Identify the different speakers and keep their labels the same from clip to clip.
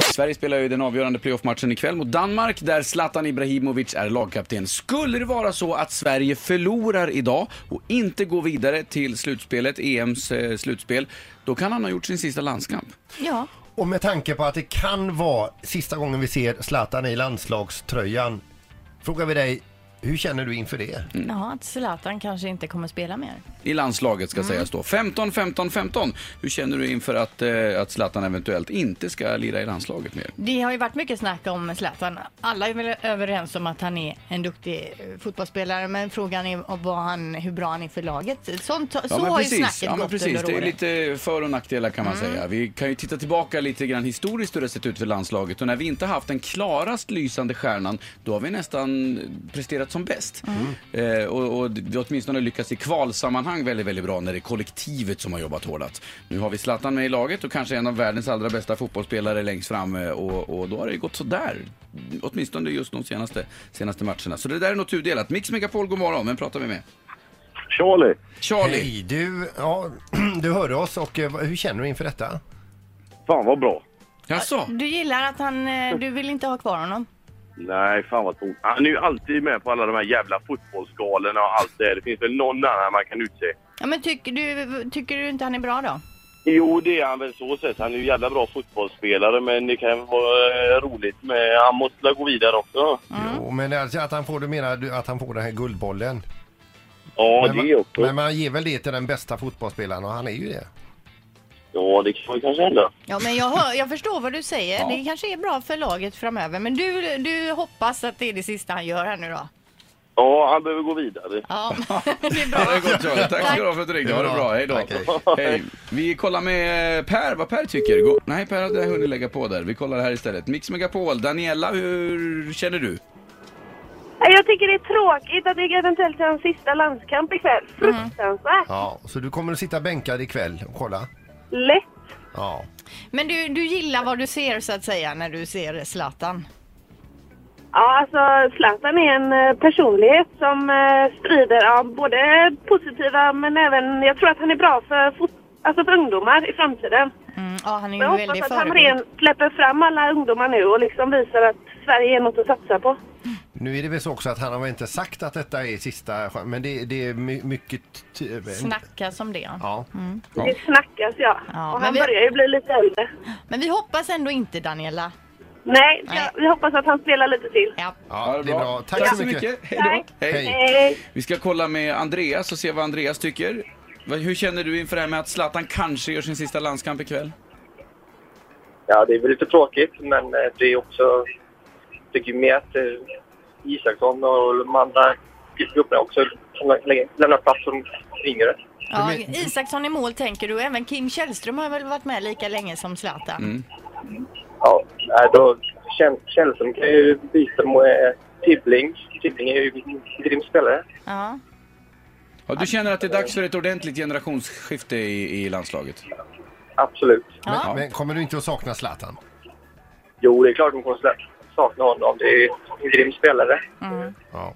Speaker 1: Sverige spelar ju den avgörande playoffmatchen ikväll mot Danmark där Zlatan Ibrahimovic är lagkapten. Skulle det vara så att Sverige förlorar idag och inte går vidare till slutspelet, EMs eh, slutspel, då kan han ha gjort sin sista landskamp.
Speaker 2: Ja.
Speaker 3: Och med tanke på att det kan vara sista gången vi ser Zlatan i landslagströjan, frågar vi dig, hur känner du inför det?
Speaker 2: ja, att Zlatan kanske inte kommer spela mer.
Speaker 1: I landslaget ska sägas då. 15, 15, 15. Hur känner du inför att, eh, att Zlatan eventuellt inte ska lira i landslaget mer?
Speaker 2: Det har ju varit mycket snack om Zlatan. Alla är väl överens om att han är en duktig eh, fotbollsspelare, men frågan är om vad han, hur bra han är för laget. Sånt, så har ju snacket
Speaker 1: ja, men
Speaker 2: gått
Speaker 1: precis. Det
Speaker 2: under
Speaker 1: är
Speaker 2: åren. Mm.
Speaker 1: lite för och nackdelar kan man säga. Vi kan ju titta tillbaka lite grann historiskt hur det sett ut för landslaget och när vi inte haft den klarast lysande stjärnan då har vi nästan presterat som bäst.
Speaker 2: Mm.
Speaker 1: Eh, och, och vi har åtminstone lyckats i kvalsammanhang väldigt, väldigt bra när det är kollektivet som har jobbat hårdast. Nu har vi Zlatan med i laget och kanske en av världens allra bästa fotbollsspelare längst fram eh, och, och då har det ju gått sådär. Åtminstone just de senaste, senaste matcherna. Så det där är nog tudelat. Mix Megapol, god morgon. Vem pratar vi med?
Speaker 4: Charlie,
Speaker 1: Charlie.
Speaker 3: Hej, du, ja, du hörde oss och eh, vad- hur känner du inför detta?
Speaker 4: fan vad bra.
Speaker 1: Jaså?
Speaker 2: Du gillar att han, eh, du vill inte ha kvar honom?
Speaker 4: Nej, fan vad tokigt. Han är ju alltid med på alla de här jävla fotbollsgalorna och allt det där. Det finns väl någon annan man kan utse.
Speaker 2: Ja, men tycker du, tycker du inte han är bra då?
Speaker 4: Jo, det är han väl så sett. Han är ju jävla bra fotbollsspelare, men det kan vara eh, roligt med... Han måste väl gå vidare också.
Speaker 3: Jo, men alltså att han får, du menar du- att han får den här guldbollen?
Speaker 4: Ja,
Speaker 3: men,
Speaker 4: det
Speaker 3: man,
Speaker 4: också.
Speaker 3: men man ger väl det till den bästa fotbollsspelaren och han är ju det.
Speaker 4: Ja, det kan man kanske hända.
Speaker 2: Ja, men jag, hör, jag förstår vad du säger. Det kanske är bra för laget framöver, men du, du hoppas att det är det sista han gör här nu då?
Speaker 4: Ja, han behöver gå vidare.
Speaker 2: Ja, det är bra.
Speaker 1: Ja, det är gott, Charlie. Tack ska du ha för att du ringde. Ha det bra. Hej då.
Speaker 3: Tack, hej.
Speaker 1: Hej. Vi kollar med Per, vad Per tycker. Gå- Nej, Per hade hunnit lägga på där. Vi kollar här istället. Mix Megapol. Daniela, hur känner du?
Speaker 5: Nej, Jag tycker det är tråkigt att det eventuellt är hans sista landskamp ikväll.
Speaker 2: Mm.
Speaker 5: Fruktansvärt.
Speaker 3: Ja, så du kommer att sitta bänkad ikväll och kolla?
Speaker 5: Lätt.
Speaker 3: Ja.
Speaker 2: Men du, du gillar vad du ser så att säga när du ser Zlatan?
Speaker 5: Ja, alltså Zlatan är en eh, personlighet som eh, sprider ja, både positiva men även, jag tror att han är bra för, fot- alltså för ungdomar i framtiden.
Speaker 2: Mm, ja, han är ju
Speaker 5: Jag
Speaker 2: en
Speaker 5: hoppas
Speaker 2: väldig
Speaker 5: att han
Speaker 2: förebild.
Speaker 5: ren släpper fram alla ungdomar nu och liksom visar att Sverige är något att satsa på.
Speaker 3: Nu är det väl så också att han har väl inte sagt att detta är sista chans- men det, det är my, mycket... t-
Speaker 2: Snacka som det.
Speaker 3: Ja.
Speaker 5: Det snackas ja.
Speaker 2: Ja,
Speaker 5: och
Speaker 2: men
Speaker 5: han
Speaker 2: vi-
Speaker 5: börjar ju bli lite äldre.
Speaker 2: Men vi hoppas ändå inte Daniela.
Speaker 5: Nej,
Speaker 2: Nej.
Speaker 5: Jag, vi hoppas att han spelar lite till.
Speaker 2: Ja.
Speaker 3: Ja, det är bra. Tack, så mycket.
Speaker 1: Hej då.
Speaker 5: Tack.
Speaker 1: Hej.
Speaker 3: Hej.
Speaker 5: Hej.
Speaker 1: Vi ska kolla med Andreas och se vad Andreas tycker. Vad- Hur känner du inför det här med att Zlatan kanske gör sin sista landskamp ikväll?
Speaker 6: Ja, det är väl lite tråkigt, men eh, det är också... Jag tycker mer att eh, Isaksson och de andra grupperna också kan lägga- lämna plats som yngre.
Speaker 2: Ja, Isaksson i mål tänker du. Även Kim Källström har väl varit med lika länge som Zlatan.
Speaker 1: Mm.
Speaker 6: Ja, nej, då Kjell- Källström kan ju byta mot eh, Tibbling. Tibbling är ju en grym spelare.
Speaker 2: Ja.
Speaker 1: Ja, du känner att det är dags för ett ordentligt generationsskifte i, i landslaget?
Speaker 6: Absolut.
Speaker 2: Ja.
Speaker 3: Men, men kommer du inte att sakna Zlatan?
Speaker 6: Jo, det är klart de kommer slä- sakna honom. Det är ju en grym spelare.
Speaker 3: Ja.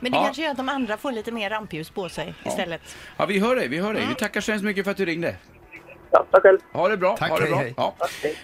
Speaker 2: Men det
Speaker 1: Ja.
Speaker 2: kanske gör att de andra får lite mer rampljus på sig istället.
Speaker 1: Ja, vi hör dig. Vi hör dig. Vi tackar så hemskt mycket för att du ringde.
Speaker 6: Ja, tack själv.
Speaker 1: Ha det bra.
Speaker 3: Tack,
Speaker 1: ha det
Speaker 3: hej,
Speaker 1: bra.
Speaker 3: hej.
Speaker 1: Ja.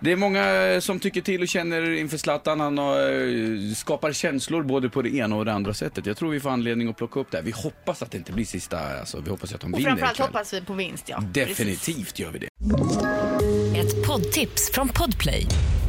Speaker 1: Det är många eh, som tycker till och känner inför Zlatan. Han har, eh, skapar känslor både på det ena och det andra sättet. Jag tror vi får anledning att plocka upp det här. Vi hoppas att det inte blir sista, alltså, vi hoppas att de
Speaker 2: Och
Speaker 1: vinner
Speaker 2: framförallt
Speaker 1: ikväll.
Speaker 2: hoppas vi på vinst. Ja.
Speaker 1: Definitivt gör vi det.
Speaker 7: Ett poddtips från Podplay.